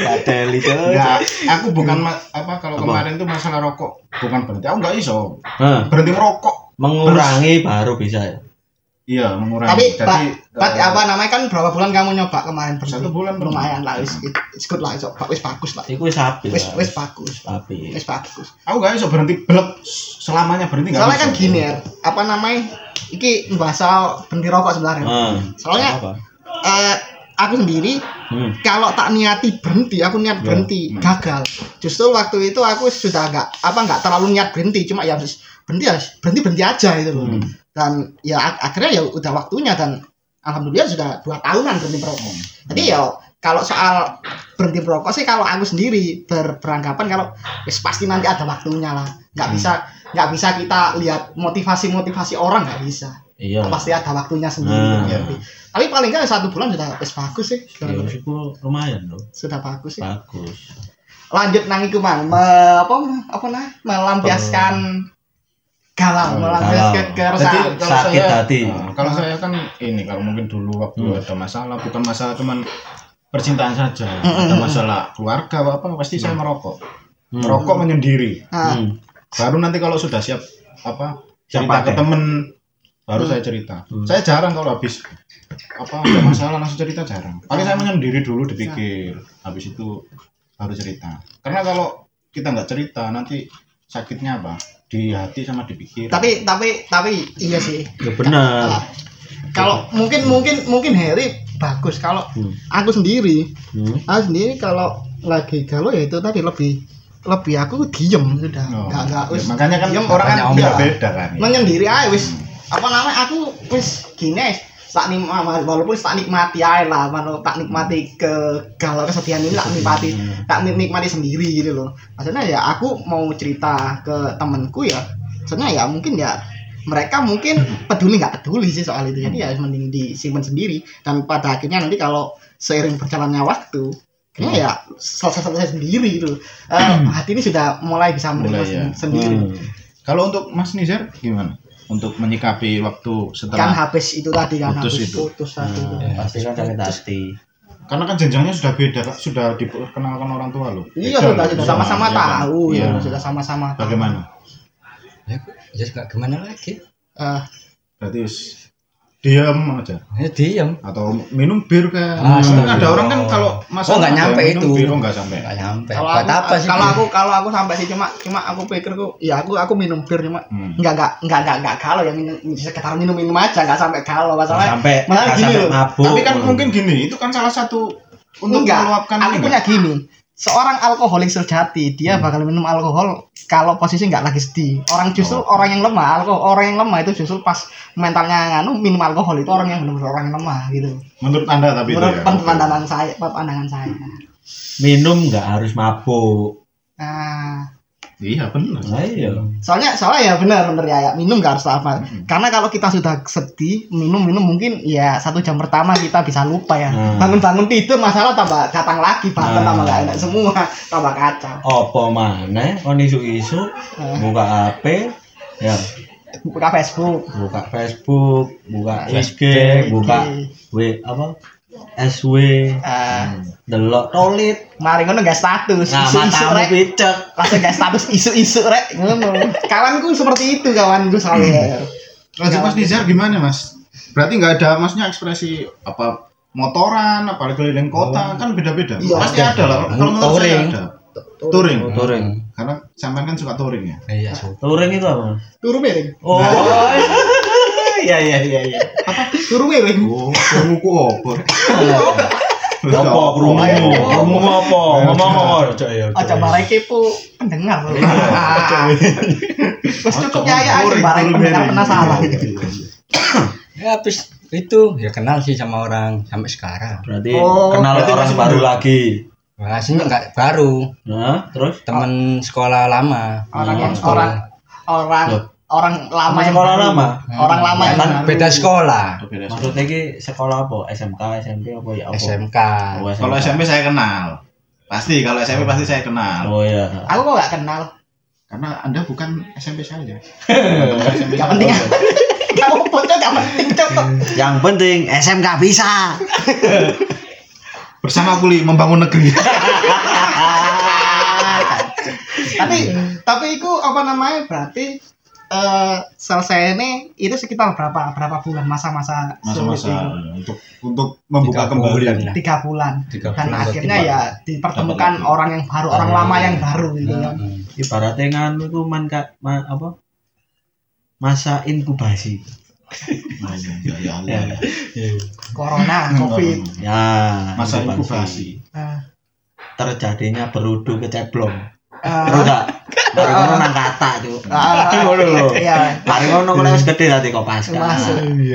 Speaker 2: gak ada itu
Speaker 4: Enggak, aku bukan ma- apa kalau
Speaker 2: Apa?
Speaker 4: kemarin tuh masalah rokok bukan berhenti aku nggak iso berhenti merokok
Speaker 2: mengurangi baru bisa ya
Speaker 4: iya mengurangi
Speaker 3: Tapi
Speaker 4: jadi
Speaker 3: Pak Pak
Speaker 4: eh,
Speaker 3: apa namanya kan berapa bulan kamu nyoba kemarin berhenti?
Speaker 4: Satu bulan Iya. berhenti.
Speaker 3: lumayan lah wis it's good lah so, wis bagus lah.
Speaker 2: itu sapi
Speaker 3: Wis
Speaker 2: lah
Speaker 3: wis bagus.
Speaker 2: sapi
Speaker 3: Wis bagus.
Speaker 4: aku nggak iso berhenti belek selamanya berhenti nggak
Speaker 3: Soalnya kan
Speaker 4: iso.
Speaker 3: gini ya, apa namanya? Iki bahasa berhenti rokok
Speaker 4: Ah.
Speaker 3: sebenarnya.
Speaker 2: Hmm.
Speaker 3: Soalnya-
Speaker 2: apa
Speaker 3: Eh aku sendiri
Speaker 2: hmm. Ya,
Speaker 3: kalau tak niati berhenti aku niat berhenti
Speaker 4: Hmm.
Speaker 3: gagal justru waktu itu aku sudah nggak apa nggak terlalu niat berhenti cuma ya harus berhenti ya berhenti berhenti aja itu loh
Speaker 2: Hmm.
Speaker 3: dan ya ak- akhirnya ya udah waktunya dan alhamdulillah sudah dua tahunan berhenti merokok
Speaker 2: Hmm.
Speaker 3: jadi ya kalau soal berhenti merokok sih kalau aku sendiri ber- beranggapan kalau wis pasti nanti ada waktunya lah nggak
Speaker 2: Hmm.
Speaker 3: bisa nggak bisa kita lihat motivasi motivasi orang nggak bisa
Speaker 2: iya
Speaker 3: Kan pasti ada waktunya
Speaker 2: Hmm.
Speaker 4: Nah.
Speaker 3: sendiri berhenti. tapi paling nggak satu bulan sudah wis bagus sih
Speaker 4: Iya.
Speaker 2: Ya, itu lumayan loh
Speaker 3: sudah bagus sih
Speaker 2: bagus
Speaker 3: lanjut nang iku mang me, apa apa nah melampiaskan galau
Speaker 4: Hmm,
Speaker 3: melampiaskan
Speaker 2: galau.
Speaker 3: keresahan
Speaker 4: Jadi- Kalau
Speaker 2: sakit
Speaker 4: saya-
Speaker 2: hati
Speaker 4: Nah, kalau saya kan ini kalau mungkin dulu waktu
Speaker 2: Hmm.
Speaker 4: ada masalah bukan masalah cuman percintaan saja
Speaker 3: hmm,
Speaker 4: ada
Speaker 3: hmm.
Speaker 4: masalah keluarga apa pasti saya merokok
Speaker 2: Hmm.
Speaker 4: merokok menyendiri
Speaker 3: Ah,
Speaker 2: Hmm.
Speaker 4: baru nanti kalau sudah siap apa
Speaker 2: Siap
Speaker 4: cerita ke
Speaker 2: pakai.
Speaker 4: temen baru saya cerita
Speaker 2: Hmm.
Speaker 4: saya jarang kalau habis apa ada masalah langsung cerita jarang paling
Speaker 3: Hmm.
Speaker 4: saya menyendiri dulu dipikir habis itu baru cerita karena kalau kita nggak cerita nanti sakitnya apa di hati sama di pikiran
Speaker 3: tapi tapi tapi iya sih
Speaker 2: ya benar
Speaker 4: Nah.
Speaker 3: Ah, kalau mungkin mungkin mungkin Harry bagus kalau
Speaker 2: Hmm.
Speaker 3: aku sendiri
Speaker 2: Hmm.
Speaker 3: aku sendiri kalau lagi galau ya itu tadi lebih lebih aku diem sudah
Speaker 4: Oh.
Speaker 3: nggak nggak
Speaker 4: Ya,
Speaker 3: wis
Speaker 4: makanya kan
Speaker 3: diem
Speaker 4: orang
Speaker 3: orang
Speaker 4: kan
Speaker 5: makanya
Speaker 4: beda
Speaker 3: ombak.
Speaker 4: beda kan
Speaker 3: menyendiri aja wis apa namanya aku wis gini wis tak nik- walaupun tak nikmati aja lah walau tak nikmati ke galau kesedihan ini tak nikmati tak nik- nikmati sendiri gitu loh maksudnya ya aku mau cerita ke temanku ya maksudnya ya mungkin ya mereka mungkin
Speaker 4: Hmm.
Speaker 3: peduli nggak peduli sih soal itu jadi ya mending disimpan sendiri dan pada akhirnya nanti kalau seiring berjalannya waktu
Speaker 4: Hmm.
Speaker 3: kayaknya ya selesai-selesai sendiri gitu loh. Eh, hati ini sudah mulai bisa menerima
Speaker 4: Mulai, ya.
Speaker 3: sen- sendiri
Speaker 4: Kalau untuk Mas Nizar gimana? Untuk menyikapi waktu
Speaker 3: kan
Speaker 4: setelah
Speaker 3: habis itu tadi kan
Speaker 4: Putus
Speaker 3: habis
Speaker 4: itu.
Speaker 3: putus tadi itu.
Speaker 2: pasti kan sakit hati
Speaker 4: karena kan jenjangnya sudah beda, Kak. sudah diperkenalkan orang tua loh.
Speaker 3: Iya
Speaker 4: Beda
Speaker 3: sudah
Speaker 4: loh,
Speaker 3: sudah
Speaker 4: sama,
Speaker 3: sama-sama
Speaker 4: iya kan?
Speaker 3: tahu
Speaker 4: Iya.
Speaker 3: ya sudah sama-sama. tahu.
Speaker 4: Bagaimana?
Speaker 5: ya, ya nggak gimana lagi
Speaker 3: Eh,
Speaker 4: Berarti us- diam aja
Speaker 5: ya diem
Speaker 4: atau minum bir kayak.
Speaker 5: Ah,
Speaker 4: Kan
Speaker 5: iya.
Speaker 4: ada orang kan kalau
Speaker 5: Oh, nggak nyampe
Speaker 4: minum
Speaker 5: itu.
Speaker 4: Bir, oh, nggak sampai.
Speaker 5: nggak nyampe
Speaker 3: kalau
Speaker 5: buat
Speaker 3: aku,
Speaker 5: apa sih
Speaker 3: kalau aku kalau aku sampai sih cuma cuma aku pikirku ya aku aku minum bir cuma
Speaker 4: Hmm.
Speaker 3: nggak nggak nggak nggak nggak kalau ya minum sekitar minum minum aja nggak sampai kalau
Speaker 2: Nggak
Speaker 3: masalahnya
Speaker 2: sampai
Speaker 3: malah
Speaker 2: nggak
Speaker 3: gini
Speaker 2: sampai
Speaker 3: loh.
Speaker 2: mabuk
Speaker 4: Tapi kan mungkin gini, itu kan salah satu untuk
Speaker 3: Enggak,
Speaker 4: meluapkan
Speaker 3: aku
Speaker 4: ini,
Speaker 3: punya
Speaker 4: Kak.
Speaker 3: gini seorang alkoholik sejati dia bakal minum alkohol kalau posisi nggak lagi sedih orang justru orang yang lemah alkohol orang yang lemah itu justru pas mentalnya nganu minum alkohol itu orang yang benar-benar orang yang lemah gitu
Speaker 4: menurut Anda tapi itu
Speaker 3: menurut
Speaker 4: ya.
Speaker 3: pandangan saya pandangan saya
Speaker 2: minum nggak harus mabuk
Speaker 3: nah
Speaker 4: Iya, benar.
Speaker 2: nah, iya
Speaker 3: soalnya soalnya ya benar benar ya, ya. minum gak harus apa
Speaker 2: Hmm.
Speaker 3: karena kalau kita sudah sedih minum minum mungkin ya satu jam pertama kita bisa lupa ya
Speaker 2: Hmm.
Speaker 3: bangun bangun tidur masalah tambah datang lagi bahkan
Speaker 2: Hmm.
Speaker 3: tambah gak enak semua (laughs) tambah kacau
Speaker 2: opo mana on isu-isu
Speaker 3: Hmm.
Speaker 2: buka HP ya
Speaker 3: buka Facebook
Speaker 2: buka Facebook buka IG buka W apa SW
Speaker 3: Eh,
Speaker 2: delok tolit
Speaker 3: mari ngono gak status
Speaker 2: Hmm. nah
Speaker 3: isu-isu
Speaker 2: matamu
Speaker 3: rek
Speaker 2: picek
Speaker 3: langsung gak status isu-isu rek ngono kawanku seperti itu kawanku
Speaker 2: Hmm.
Speaker 3: soalnya
Speaker 4: Lanjut Mas Nizar gimana Mas? Berarti nggak ada masnya ekspresi apa motoran, apalagi keliling kota kan beda-beda.
Speaker 3: Iya,
Speaker 4: Pasti ada lah. Kalau menurut saya
Speaker 5: Touring.
Speaker 4: ada. Touring.
Speaker 2: touring
Speaker 4: Karena sampean kan suka touring ya.
Speaker 5: iya so
Speaker 2: touring itu apa Mas?
Speaker 3: turu miring
Speaker 2: oh (laughs) iya iya iya iya
Speaker 3: turu miring
Speaker 4: Oh, kerumuku obor. Iya.
Speaker 2: apa kerumuh kerumuh apa ngomong apa ojo ya
Speaker 3: Aja bareng kepo pendengar.
Speaker 2: Iya,
Speaker 3: (laughs) Ah. Wes
Speaker 4: Iya,
Speaker 3: cukupnya ya aja bareng pendengar penasaran.
Speaker 5: ya habis itu ya kenal sih sama orang sampai sekarang
Speaker 2: berarti
Speaker 3: Oh,
Speaker 2: kenal
Speaker 4: berarti
Speaker 2: orang
Speaker 4: masih
Speaker 2: baru
Speaker 4: belum.
Speaker 2: lagi
Speaker 5: Rasanya nggak baru
Speaker 2: nah terus
Speaker 5: temen sekolah lama
Speaker 3: Orang yang
Speaker 2: sekolah.
Speaker 3: orang orang
Speaker 2: Loh.
Speaker 3: orang lama
Speaker 2: Teman
Speaker 3: yang
Speaker 2: sekolah
Speaker 3: baru.
Speaker 2: lama?
Speaker 3: Orang lama
Speaker 5: ya
Speaker 3: yang
Speaker 5: kan
Speaker 3: baru.
Speaker 5: beda sekolah
Speaker 2: maksudnya ki sekolah apa SMK SMP apa ya apa
Speaker 5: SMK
Speaker 2: Oh,
Speaker 4: Kalau SMP saya kenal. Pasti kalau SMP pasti saya kenal.
Speaker 2: oh (laughs) ya
Speaker 3: Aku kok gak kenal. (laughs)
Speaker 4: Karena Anda bukan SMP saya. ya.
Speaker 3: Gak penting. Kamu bocah gak penting cocok.
Speaker 2: yang penting SMK (laughs) bisa
Speaker 4: Bersama kuli membangun negeri.
Speaker 3: tapi tapi itu apa namanya berarti eh selesai ini itu sekitar berapa berapa bulan masa-masa
Speaker 4: Masa-masa
Speaker 3: sulit itu?
Speaker 4: eh, untuk untuk membuka
Speaker 5: Tiga
Speaker 4: kembali.
Speaker 5: bulan lah.
Speaker 3: tiga bulan
Speaker 5: Tiga
Speaker 2: Kan
Speaker 3: dan
Speaker 5: bulan
Speaker 3: akhirnya
Speaker 5: berarti
Speaker 3: ya dipertemukan
Speaker 4: Dapat lagi.
Speaker 3: orang yang baru orang
Speaker 2: Ah.
Speaker 3: lama yang baru gitu kan
Speaker 2: ibaratnya nganu itu man ka- ma- apa masa inkubasi
Speaker 4: Nah, iya, iya, iya, iya. Hmm.
Speaker 3: corona covid
Speaker 2: ya
Speaker 4: Masa inkubasi.
Speaker 3: Nah,
Speaker 2: terjadinya berudu ke ceblong
Speaker 3: eh,
Speaker 2: terus gak mari ngono nang kata cuk
Speaker 3: Ah.
Speaker 2: ngono lho
Speaker 3: Iya.
Speaker 2: mari ngono kok wis gede nanti kok pasca
Speaker 3: Mas,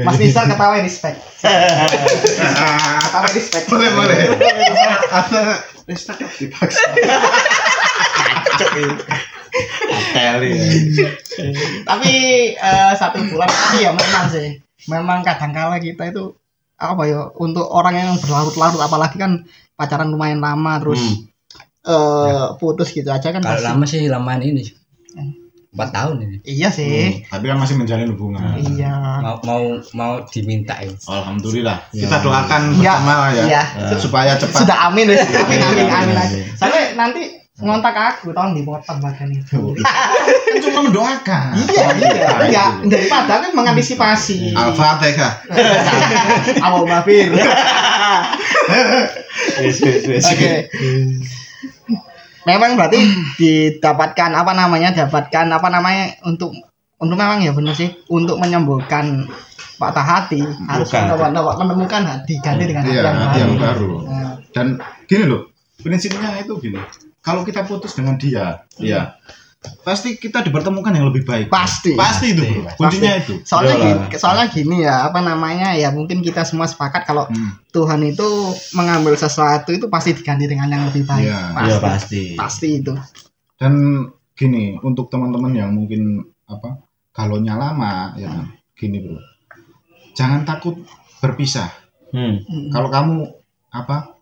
Speaker 3: Mas Nisa ketawa respect. Ketawa respect.
Speaker 4: boleh boleh ada hashtag dipaksa
Speaker 2: Ateli.
Speaker 3: Tapi eh, satu bulan tapi ya memang sih. Memang kadangkala kita itu apa ya untuk orang yang berlarut-larut apalagi kan pacaran lumayan lama terus
Speaker 2: Hmm.
Speaker 3: eh putus gitu aja kan
Speaker 5: kalau
Speaker 3: pasti-
Speaker 5: lama sih lamaan ini
Speaker 3: Eh.
Speaker 5: empat tahun ini
Speaker 3: Iya sih.
Speaker 4: tapi kan masih menjalin hubungan
Speaker 3: Iya.
Speaker 5: mau mau mau diminta ya
Speaker 4: alhamdulillah kita doakan
Speaker 3: Iya.
Speaker 4: bersama lah ya
Speaker 3: Iya.
Speaker 4: Eh, supaya cepat
Speaker 3: Sudah amin wes. Amin amin
Speaker 4: Iya,
Speaker 3: amin.
Speaker 4: iya,
Speaker 3: amin. Sampai nanti ngontak aku tolong dipotong bahkan itu.
Speaker 4: Kan cuma mendoakan Oh,
Speaker 3: Iya, iya. Enggak, daripada kan mengantisipasi.
Speaker 4: Al-Fatihah
Speaker 3: (laughs) Awal babir.
Speaker 2: Wis wis wis.
Speaker 3: Oke. Memang berarti didapatkan apa namanya? Dapatkan apa namanya untuk untuk memang ya benar sih untuk menyembuhkan patah hati harus
Speaker 2: Bukan.
Speaker 3: menemukan, menemukan hati ganti dengan hati
Speaker 4: iya
Speaker 3: yang
Speaker 4: hati
Speaker 3: baru.
Speaker 4: yang baru
Speaker 3: Nah,
Speaker 4: dan gini loh prinsipnya itu gini kalau kita putus dengan dia ya pasti kita dipertemukan yang lebih baik
Speaker 3: Pasti.
Speaker 4: pasti itu bro
Speaker 2: Pasti.
Speaker 4: kuncinya itu
Speaker 3: Soalnya
Speaker 2: Iyalah.
Speaker 3: gini, soalnya gini ya, apa namanya ya mungkin kita semua sepakat kalau
Speaker 4: Hmm.
Speaker 3: Tuhan itu mengambil sesuatu itu pasti diganti dengan yang lebih baik.
Speaker 4: Iya.
Speaker 2: Iya
Speaker 3: Pasti.
Speaker 2: pasti.
Speaker 3: Pasti itu.
Speaker 4: dan gini untuk teman-teman yang mungkin apa galonnya lama ya kan? gini bro jangan takut berpisah
Speaker 2: Hmm.
Speaker 3: Mm.
Speaker 4: kalau kamu apa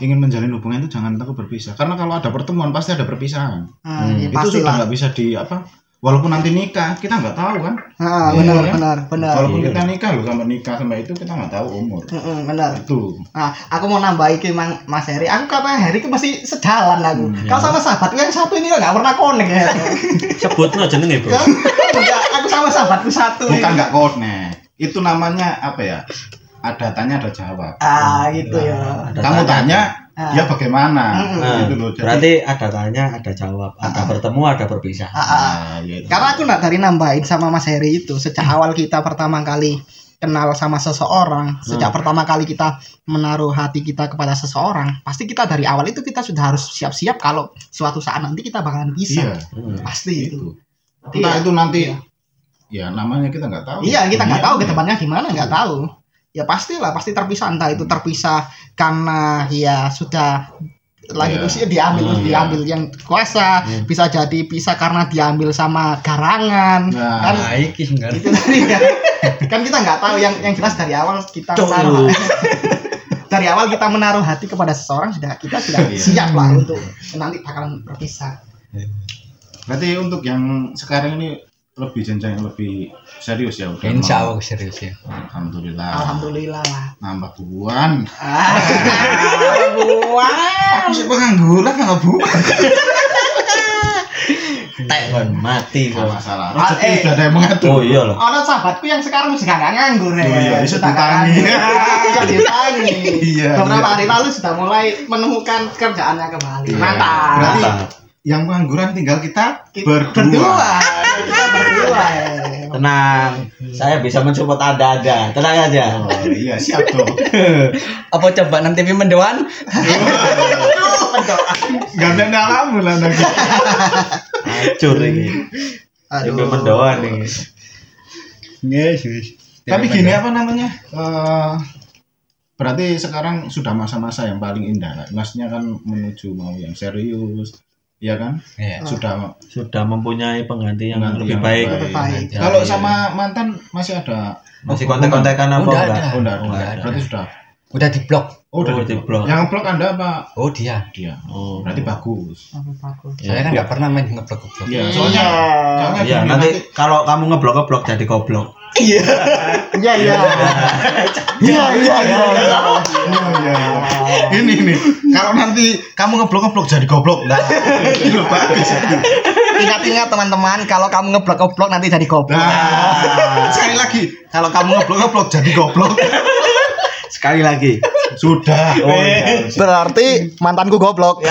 Speaker 4: ingin menjalin hubungan itu jangan takut berpisah karena kalau ada pertemuan pasti ada perpisahan
Speaker 3: Ah,
Speaker 2: Hmm,
Speaker 3: ya,
Speaker 4: itu
Speaker 3: pasti
Speaker 4: sudah
Speaker 3: lah.
Speaker 4: nggak bisa di apa walaupun nanti nikah kita nggak tahu kan
Speaker 3: Ah,
Speaker 4: Iya,
Speaker 3: benar,
Speaker 4: kan?
Speaker 3: benar, benar.
Speaker 4: walaupun
Speaker 2: Iya.
Speaker 4: kita nikah loh sampai nikah sampai itu kita nggak tahu umur
Speaker 3: Mm-mm, Hmm, benar.
Speaker 4: itu
Speaker 3: Nah, aku mau nambahin ke Mang- Mas Heri. Aku kata Heri itu masih sejalan aku.
Speaker 4: Hmm,
Speaker 3: Kalau sama sahabatku yang satu ini nggak pernah
Speaker 4: (laughs)
Speaker 3: connect ya.
Speaker 2: Sebut no jenenge, Bro.
Speaker 3: Ya, enggak, aku sama sahabatku satu.
Speaker 4: bukan
Speaker 3: ini.
Speaker 4: nggak connect itu namanya apa ya ada tanya ada jawab
Speaker 3: Ah, gitu ya.
Speaker 2: Nah, Ada
Speaker 4: kamu tanya
Speaker 3: Ah.
Speaker 4: ya bagaimana
Speaker 3: Mm-mm.
Speaker 2: Nah,
Speaker 4: gitu loh jadi
Speaker 2: berarti ada tanya, ada jawab, ada bertemu, ada berpisah.
Speaker 3: Ah, ah.
Speaker 4: Ah, ya itu.
Speaker 3: Karena aku nak dari nambahin sama Mas Heri itu sejak
Speaker 4: Hmm.
Speaker 3: awal kita pertama kali kenal sama
Speaker 4: Hmm.
Speaker 3: seseorang, sejak pertama kali kita menaruh hati kita kepada seseorang, pasti kita dari awal itu kita sudah harus siap-siap kalau suatu saat nanti kita bakalan
Speaker 4: iya
Speaker 3: bisa.
Speaker 2: Hmm.
Speaker 3: Pasti itu.
Speaker 4: itu entah
Speaker 3: Iya.
Speaker 4: itu nanti ya namanya kita nggak tahu
Speaker 3: Iya, kita nggak
Speaker 4: Iya.
Speaker 3: tahu ke depannya gimana, nggak tahu. Ya pastilah, pasti terpisah entah itu terpisah karena ya sudah lagi
Speaker 4: Iya.
Speaker 3: usia diambil terus
Speaker 4: Iya.
Speaker 3: diambil yang kuasa
Speaker 2: Iya.
Speaker 3: bisa jadi pisah karena diambil sama garangan
Speaker 4: Nah,
Speaker 3: kan
Speaker 2: Nah, iki sing kan.
Speaker 3: itu tadi kan kan kita nggak tahu yang yang jelas dari awal kita
Speaker 2: Tuh.
Speaker 3: menaruh dari awal kita menaruh hati kepada seseorang sudah kita sudah
Speaker 4: Iya.
Speaker 3: siap lah untuk nanti bakalan berpisah
Speaker 4: berarti untuk yang sekarang ini lebih jenjang yang lebih serius ya udah
Speaker 3: kan
Speaker 5: Insya
Speaker 4: mau.
Speaker 5: Allah serius ya.
Speaker 4: alhamdulillah
Speaker 3: alhamdulillah lah
Speaker 4: nambah buan
Speaker 3: Ah, (laughs) buah.
Speaker 4: aku sih pengangguran nggak buan
Speaker 2: Tek kon mati
Speaker 4: nggak
Speaker 2: kon.
Speaker 4: masalah
Speaker 3: Ah,
Speaker 4: rezeki
Speaker 3: eh.
Speaker 4: sudah ada yang mengatur
Speaker 2: Oh iya loh.
Speaker 3: Ono sahabatku yang sekarang sudah nggak nganggur ya.
Speaker 4: Oh iya, bisa
Speaker 3: Sudah nggak (laughs)
Speaker 4: ditangi.
Speaker 3: nganggur. Bisa ditangi.
Speaker 4: Iya,
Speaker 3: Beberapa
Speaker 4: iya.
Speaker 3: hari lalu sudah mulai menemukan kerjaannya kembali.
Speaker 4: Iya.
Speaker 3: Mantap.
Speaker 4: Berarti
Speaker 2: Mantap.
Speaker 4: yang pengangguran tinggal kita
Speaker 3: Kita
Speaker 4: berdua, Iya,
Speaker 3: Berdua. Kita berdua. ya.
Speaker 2: Tenang, saya bisa mensupport Anda-anda. Tenang aja.
Speaker 4: Oh, iya siap dong
Speaker 5: Apa coba nanti pimen mendoan?
Speaker 4: nggak ada alamu lah nanti
Speaker 2: Hancur iki.
Speaker 3: Aduh.
Speaker 2: Ini mendoan nih.
Speaker 4: Yes, yes. Tapi gini apa namanya? Eh, berarti sekarang sudah masa-masa yang paling indah. Lah. Masnya kan menuju mau yang serius, ya kan?
Speaker 5: Iya.
Speaker 4: Sudah
Speaker 2: Sudah mempunyai pengganti yang
Speaker 4: Pengganti
Speaker 2: lebih
Speaker 4: yang
Speaker 2: baik.
Speaker 4: lebih
Speaker 3: baik.
Speaker 2: Ya,
Speaker 4: kalau
Speaker 2: iya.
Speaker 4: sama mantan masih ada
Speaker 2: masih kontak-kontakan apa
Speaker 5: Udah
Speaker 2: enggak?
Speaker 5: ada.
Speaker 4: Oh, enggak,
Speaker 5: Oh,
Speaker 4: enggak.
Speaker 5: enggak ada.
Speaker 4: Berarti sudah.
Speaker 5: Udah di blok.
Speaker 4: Oh,
Speaker 2: Ah,
Speaker 4: udah
Speaker 2: Oh,
Speaker 4: di
Speaker 2: di blok.
Speaker 4: Yang blok Anda apa?
Speaker 5: Oh dia.
Speaker 4: Dia.
Speaker 2: Oh,
Speaker 4: Berarti bagus.
Speaker 5: Saya kan nggak pernah main ngeblok ngeblok.
Speaker 4: Iya, soalnya soalnya
Speaker 2: Iya,
Speaker 4: gini,
Speaker 2: nanti kalau kamu ngeblok-ngeblok jadi goblok.
Speaker 3: Iya iya. Iya
Speaker 5: (laughs)
Speaker 3: iya. iya.
Speaker 4: Iya, iya, iya. Ini nih, kalau nanti kamu ngeblok-ngeblok jadi goblok, nah. Itu bagus.
Speaker 3: Ingat-ingat teman-teman kalau kamu ngeblok-ngeblok nanti jadi goblok.
Speaker 4: Nah, sekali lagi, kalau kamu ngeblok-ngeblok jadi goblok.
Speaker 2: Sekali lagi.
Speaker 4: Sudah.
Speaker 2: Oh, iya.
Speaker 3: Berarti mantanku goblok.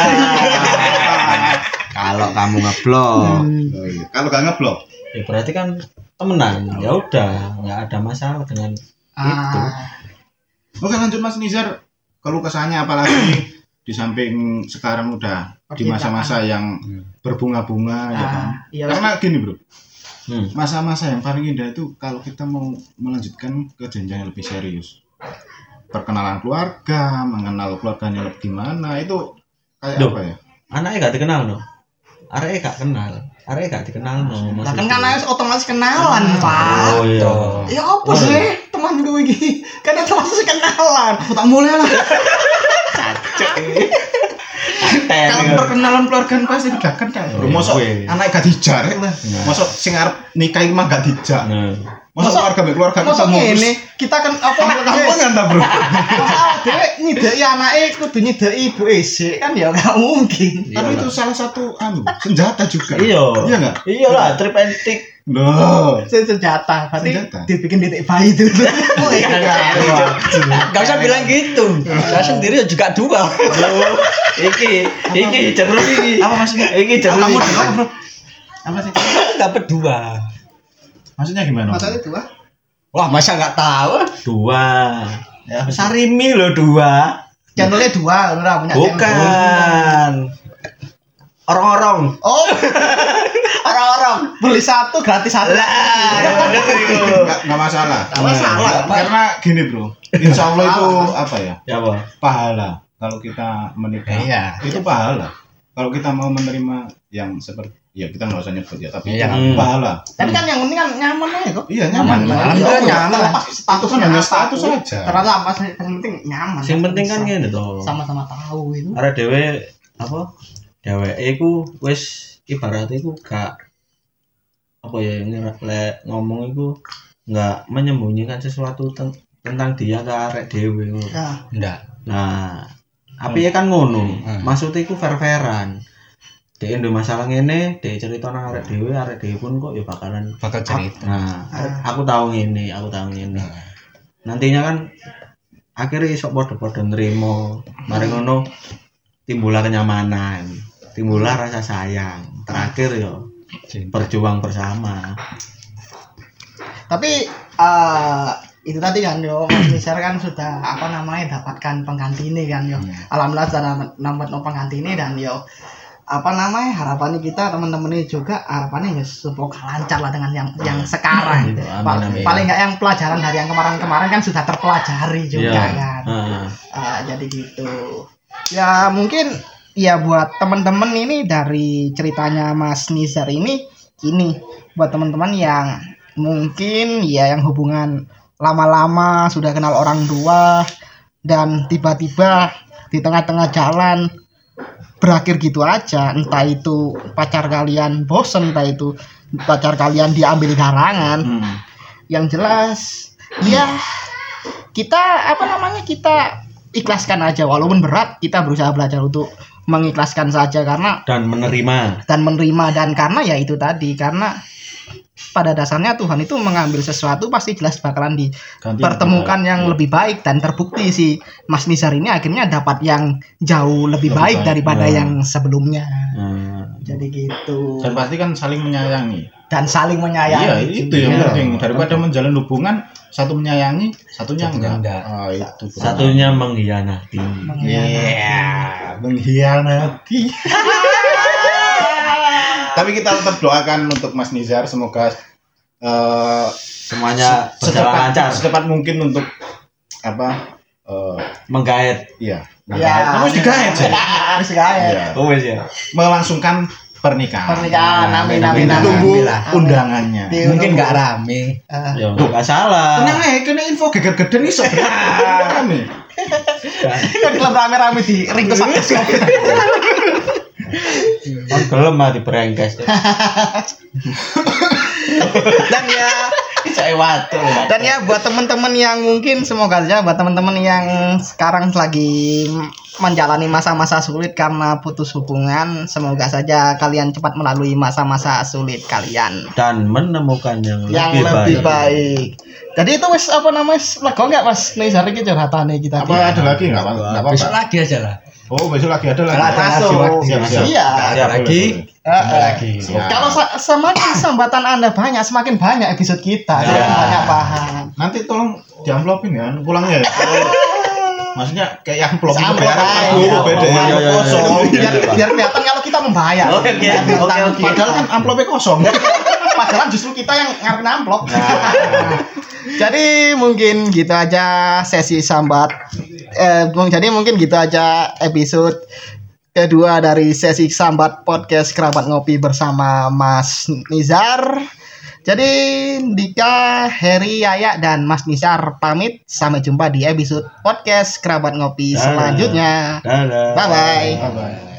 Speaker 2: kalau kamu
Speaker 3: Ah,
Speaker 2: ngeblok,
Speaker 4: Kalau gak ngeblok,
Speaker 2: ya berarti kan temenan. Ya udah, nggak ada masalah dengan itu.
Speaker 3: Ah,
Speaker 4: oke lanjut Mas Nizar. Kalau kesannya apalagi di samping sekarang udah di masa-masa yang berbunga-bunga ya kan.
Speaker 3: ah, iya.
Speaker 4: Karena gini bro,
Speaker 2: Hmm.
Speaker 4: masa-masa yang paling indah itu kalau kita mau melanjutkan ke jenjang yang lebih serius. Perkenalan keluarga, mengenal keluarganya lebih gimana itu kayak
Speaker 2: Duh.
Speaker 4: apa ya?
Speaker 2: Anaknya gak dikenal no. Arek gak kenal. Arek gak dikenal no.
Speaker 3: Lah kan
Speaker 2: maksudnya.
Speaker 3: kan otomatis kenalan, Pak.
Speaker 2: Oh iya.
Speaker 3: Ya apa sih teman gue ini? Karena terlalu kenalan.
Speaker 4: Aku tak mulai lah.
Speaker 2: Ten.
Speaker 4: Kalau perkenalan keluarga pasti udah kenal.
Speaker 2: Iya,
Speaker 4: Bro, mosok
Speaker 2: gue.
Speaker 4: anak gak dijarek lah.
Speaker 2: Iya.
Speaker 4: Mosok sing arep nikah iki mah gak dijak.
Speaker 2: Nah,
Speaker 4: Masa
Speaker 3: Masa-
Speaker 4: keluarga mbek keluarga
Speaker 3: Masa
Speaker 4: ketemu
Speaker 3: ini kita kan apa
Speaker 4: Gampang kan ta,
Speaker 2: (laughs)
Speaker 4: Bro?
Speaker 3: Dewe nyidai anaknya kudu nyidai ibu isi kan ya nggak mungkin.
Speaker 4: Tapi itu salah satu anu, senjata juga.
Speaker 2: iya.
Speaker 4: Iya enggak?
Speaker 2: Iya lah, trip and tick.
Speaker 4: Loh.
Speaker 3: Saya senjata, berarti
Speaker 4: Senjata.
Speaker 3: dibikin titik bayi dulu. Oh, iya.
Speaker 5: Gak usah bilang gitu. Saya sendiri juga dua.
Speaker 2: Iki, iki jeruk iki.
Speaker 4: Apa maksudnya?
Speaker 2: Iki jeruk.
Speaker 4: Kamu
Speaker 2: iki.
Speaker 4: dengar, Bro? Apa sih?
Speaker 5: Dapat dua.
Speaker 4: Maksudnya gimana?
Speaker 3: Maksudnya dua?
Speaker 5: Wah masa nggak tahu?
Speaker 2: Dua.
Speaker 4: Ya, apa sih?
Speaker 2: Sarimi lo dua.
Speaker 3: Channelnya dua, ora punya channel.
Speaker 2: Bukan. Orang-orang.
Speaker 3: Oh, (laughs) orang-orang beli satu gratis satu.
Speaker 2: Lah, bener itu.
Speaker 4: nggak nggak masalah
Speaker 3: Nggak masalah.
Speaker 4: karena gini bro insya Allah itu apa ya
Speaker 2: Ya apa?
Speaker 4: pahala kalau kita menikah
Speaker 2: Iya.
Speaker 4: itu pahala kalau kita mau menerima yang seperti ya kita nggak usah nyebut ya tapi
Speaker 5: Iya.
Speaker 4: yang pahala
Speaker 3: Tapi kan yang penting kan nyaman aja kok.
Speaker 4: iya nyaman
Speaker 3: Nyaman.
Speaker 4: Iya,
Speaker 3: Nyaman.
Speaker 4: nyaman.
Speaker 3: Lepas
Speaker 4: itu kan hanya status saja
Speaker 3: Ternyata apa sih? Yang penting nyaman.
Speaker 2: Yang penting kan ngene to.
Speaker 3: sama-sama tahu itu.
Speaker 2: Arek dhewe apa? Dheweke iku wis ibarat iku gak apa ya ini lek ngomong iku nggak menyembunyikan sesuatu ten- tentang dia ke arek dhewe. ngono.
Speaker 3: Ya,
Speaker 5: Ndak.
Speaker 2: Nah, api kan ngono.
Speaker 5: Hmm.
Speaker 2: Maksudnya iku fair-fairan. Dek ndek masalah ngene, dek cerita nang arek dhewe, arek dhewe pun kok ya bakalan
Speaker 5: Bakal
Speaker 3: Ah.
Speaker 5: cerita.
Speaker 2: Nah, aku tahu ini, aku tahu ini. Nantinya kan akhirnya iso podo-podo nerimo. Mari ngono timbullah kenyamanan, timbullah rasa sayang. Terakhir yo
Speaker 5: Cinta.
Speaker 2: berjuang bersama.
Speaker 3: tapi eh itu tadi kan yo Mas Nizar kan sudah apa namanya dapatkan pengganti ini kan yo.
Speaker 2: Iya.
Speaker 3: Alhamdulillah sudah dapat- dapat pengganti ini dan yo apa namanya harapannya kita teman-teman ini juga harapannya ya semoga lancar lah dengan yang yang sekarang
Speaker 2: Gitu, amin,
Speaker 3: Pa-
Speaker 2: amin.
Speaker 3: paling nggak yang pelajaran dari yang kemarin-kemarin kan sudah terpelajari
Speaker 2: Iya.
Speaker 3: juga kan
Speaker 2: Nah,
Speaker 3: Ah, jadi gitu ya mungkin ya buat teman-teman ini dari ceritanya Mas Nizar ini ini buat teman-teman yang mungkin ya yang hubungan lama-lama sudah kenal orang tua dan tiba-tiba di tengah-tengah jalan berakhir gitu aja entah itu pacar kalian bosen entah itu pacar kalian diambil garangan
Speaker 2: hmm.
Speaker 3: yang jelas ya kita apa namanya kita ikhlaskan aja walaupun berat kita berusaha belajar untuk mengikhlaskan saja karena
Speaker 2: Dan menerima.
Speaker 3: dan menerima dan karena ya itu tadi karena pada dasarnya Tuhan itu mengambil sesuatu pasti jelas bakalan
Speaker 4: Ganti Iya.
Speaker 3: dipertemukan yang lebih baik dan terbukti sih Mas Nizar ini akhirnya dapat yang jauh
Speaker 4: Lebih
Speaker 3: lebih, baik,
Speaker 4: baik,
Speaker 3: daripada
Speaker 2: ya.
Speaker 3: yang sebelumnya
Speaker 2: Nah,
Speaker 3: jadi gitu
Speaker 4: dan pasti kan saling menyayangi
Speaker 3: dan saling
Speaker 4: iya
Speaker 3: menyayangi
Speaker 4: itu yang
Speaker 3: juga.
Speaker 4: penting daripada menjalin hubungan satu menyayangi satunya
Speaker 5: Satunya
Speaker 4: enggak
Speaker 5: enggak.
Speaker 4: Ah, itu
Speaker 2: satunya mengkhianati.
Speaker 4: Iya, (laughs) mengkhianati. Tapi kita tetap doakan untuk Mas Nizar semoga eh,
Speaker 2: Semuanya berjalan
Speaker 4: secepat
Speaker 2: lancar,
Speaker 4: secepat mungkin untuk apa? eh,
Speaker 2: menggaet.
Speaker 4: iya,
Speaker 3: Ya.
Speaker 4: Kamu harus digaet sih.
Speaker 3: harus gaet.
Speaker 4: Iya.
Speaker 2: Oh wis ya.
Speaker 4: Melangsungkan pernikahan. Iya.
Speaker 3: pernikahan amin amin amin
Speaker 4: Tunggu
Speaker 5: Amin lah.
Speaker 4: undangannya.
Speaker 3: Di-
Speaker 5: Mungkin nggak
Speaker 3: (laughs)
Speaker 5: rame.
Speaker 3: Eh,
Speaker 2: Ya enggak salah.
Speaker 4: Tenang ya, kena info geger-geden Kan nih sok. Kami.
Speaker 3: kita dalam rame-rame di ring kesakit
Speaker 2: Kan gelem mah diperengkes.
Speaker 3: dan ya
Speaker 2: Saya watu.
Speaker 3: dan ya buat temen-temen yang mungkin semoga aja buat temen-temen yang sekarang lagi menjalani masa-masa sulit karena putus hubungan semoga saja kalian cepat melalui masa-masa sulit kalian
Speaker 2: dan menemukan yang,
Speaker 3: yang
Speaker 2: lebih,
Speaker 3: lebih
Speaker 2: baik.
Speaker 3: baik. Jadi itu wes apa namanya? wes Lego nggak mas? Nih hari kita curhatan nih kita.
Speaker 4: Apa ada lagi enggak apa-apa?
Speaker 5: Besok lagi aja lah.
Speaker 4: Oh, besok lagi ada lagi.
Speaker 5: Kalau ada lagi,
Speaker 4: Siap,
Speaker 5: lagi,
Speaker 4: siap,
Speaker 5: lagi.
Speaker 4: siap.
Speaker 3: Iya.
Speaker 5: Ada
Speaker 4: Boleh,
Speaker 5: lagi.
Speaker 4: boleh.
Speaker 3: Eh,
Speaker 5: Ada
Speaker 3: eh.
Speaker 5: lagi.
Speaker 4: Siap.
Speaker 3: Kalau sa- semakin sambatan anda banyak, semakin banyak episode kita,
Speaker 2: Ya.
Speaker 3: Semakin banyak paham.
Speaker 4: Nanti tolong diamplopin ya, pulangnya ya. Maksudnya kayak amplop itu
Speaker 3: Sama
Speaker 4: bayaran
Speaker 3: aja.
Speaker 4: aku beda
Speaker 2: Iya,
Speaker 4: ya.
Speaker 2: iya, iya.
Speaker 4: Kosong.
Speaker 3: biar, biar kelihatan kalau kita membayar.
Speaker 2: Oke, oke,
Speaker 3: Biar
Speaker 2: oke,
Speaker 3: kelihatan.
Speaker 2: oke.
Speaker 3: Padahal kan
Speaker 4: amplopnya kosong.
Speaker 3: padahal justru kita yang ngarep amplop.
Speaker 2: Nah.
Speaker 3: (laughs) jadi mungkin gitu aja sesi sambat. Eh, Bung, jadi mungkin gitu aja episode kedua dari sesi sambat podcast kerabat ngopi bersama Mas Nizar. Jadi Dika, Heri, Yaya, dan Mas Nizar pamit. Sampai jumpa di episode podcast kerabat ngopi
Speaker 2: Dadah.
Speaker 3: selanjutnya.
Speaker 2: Dadah.
Speaker 3: Bye-bye.
Speaker 4: Bye-bye.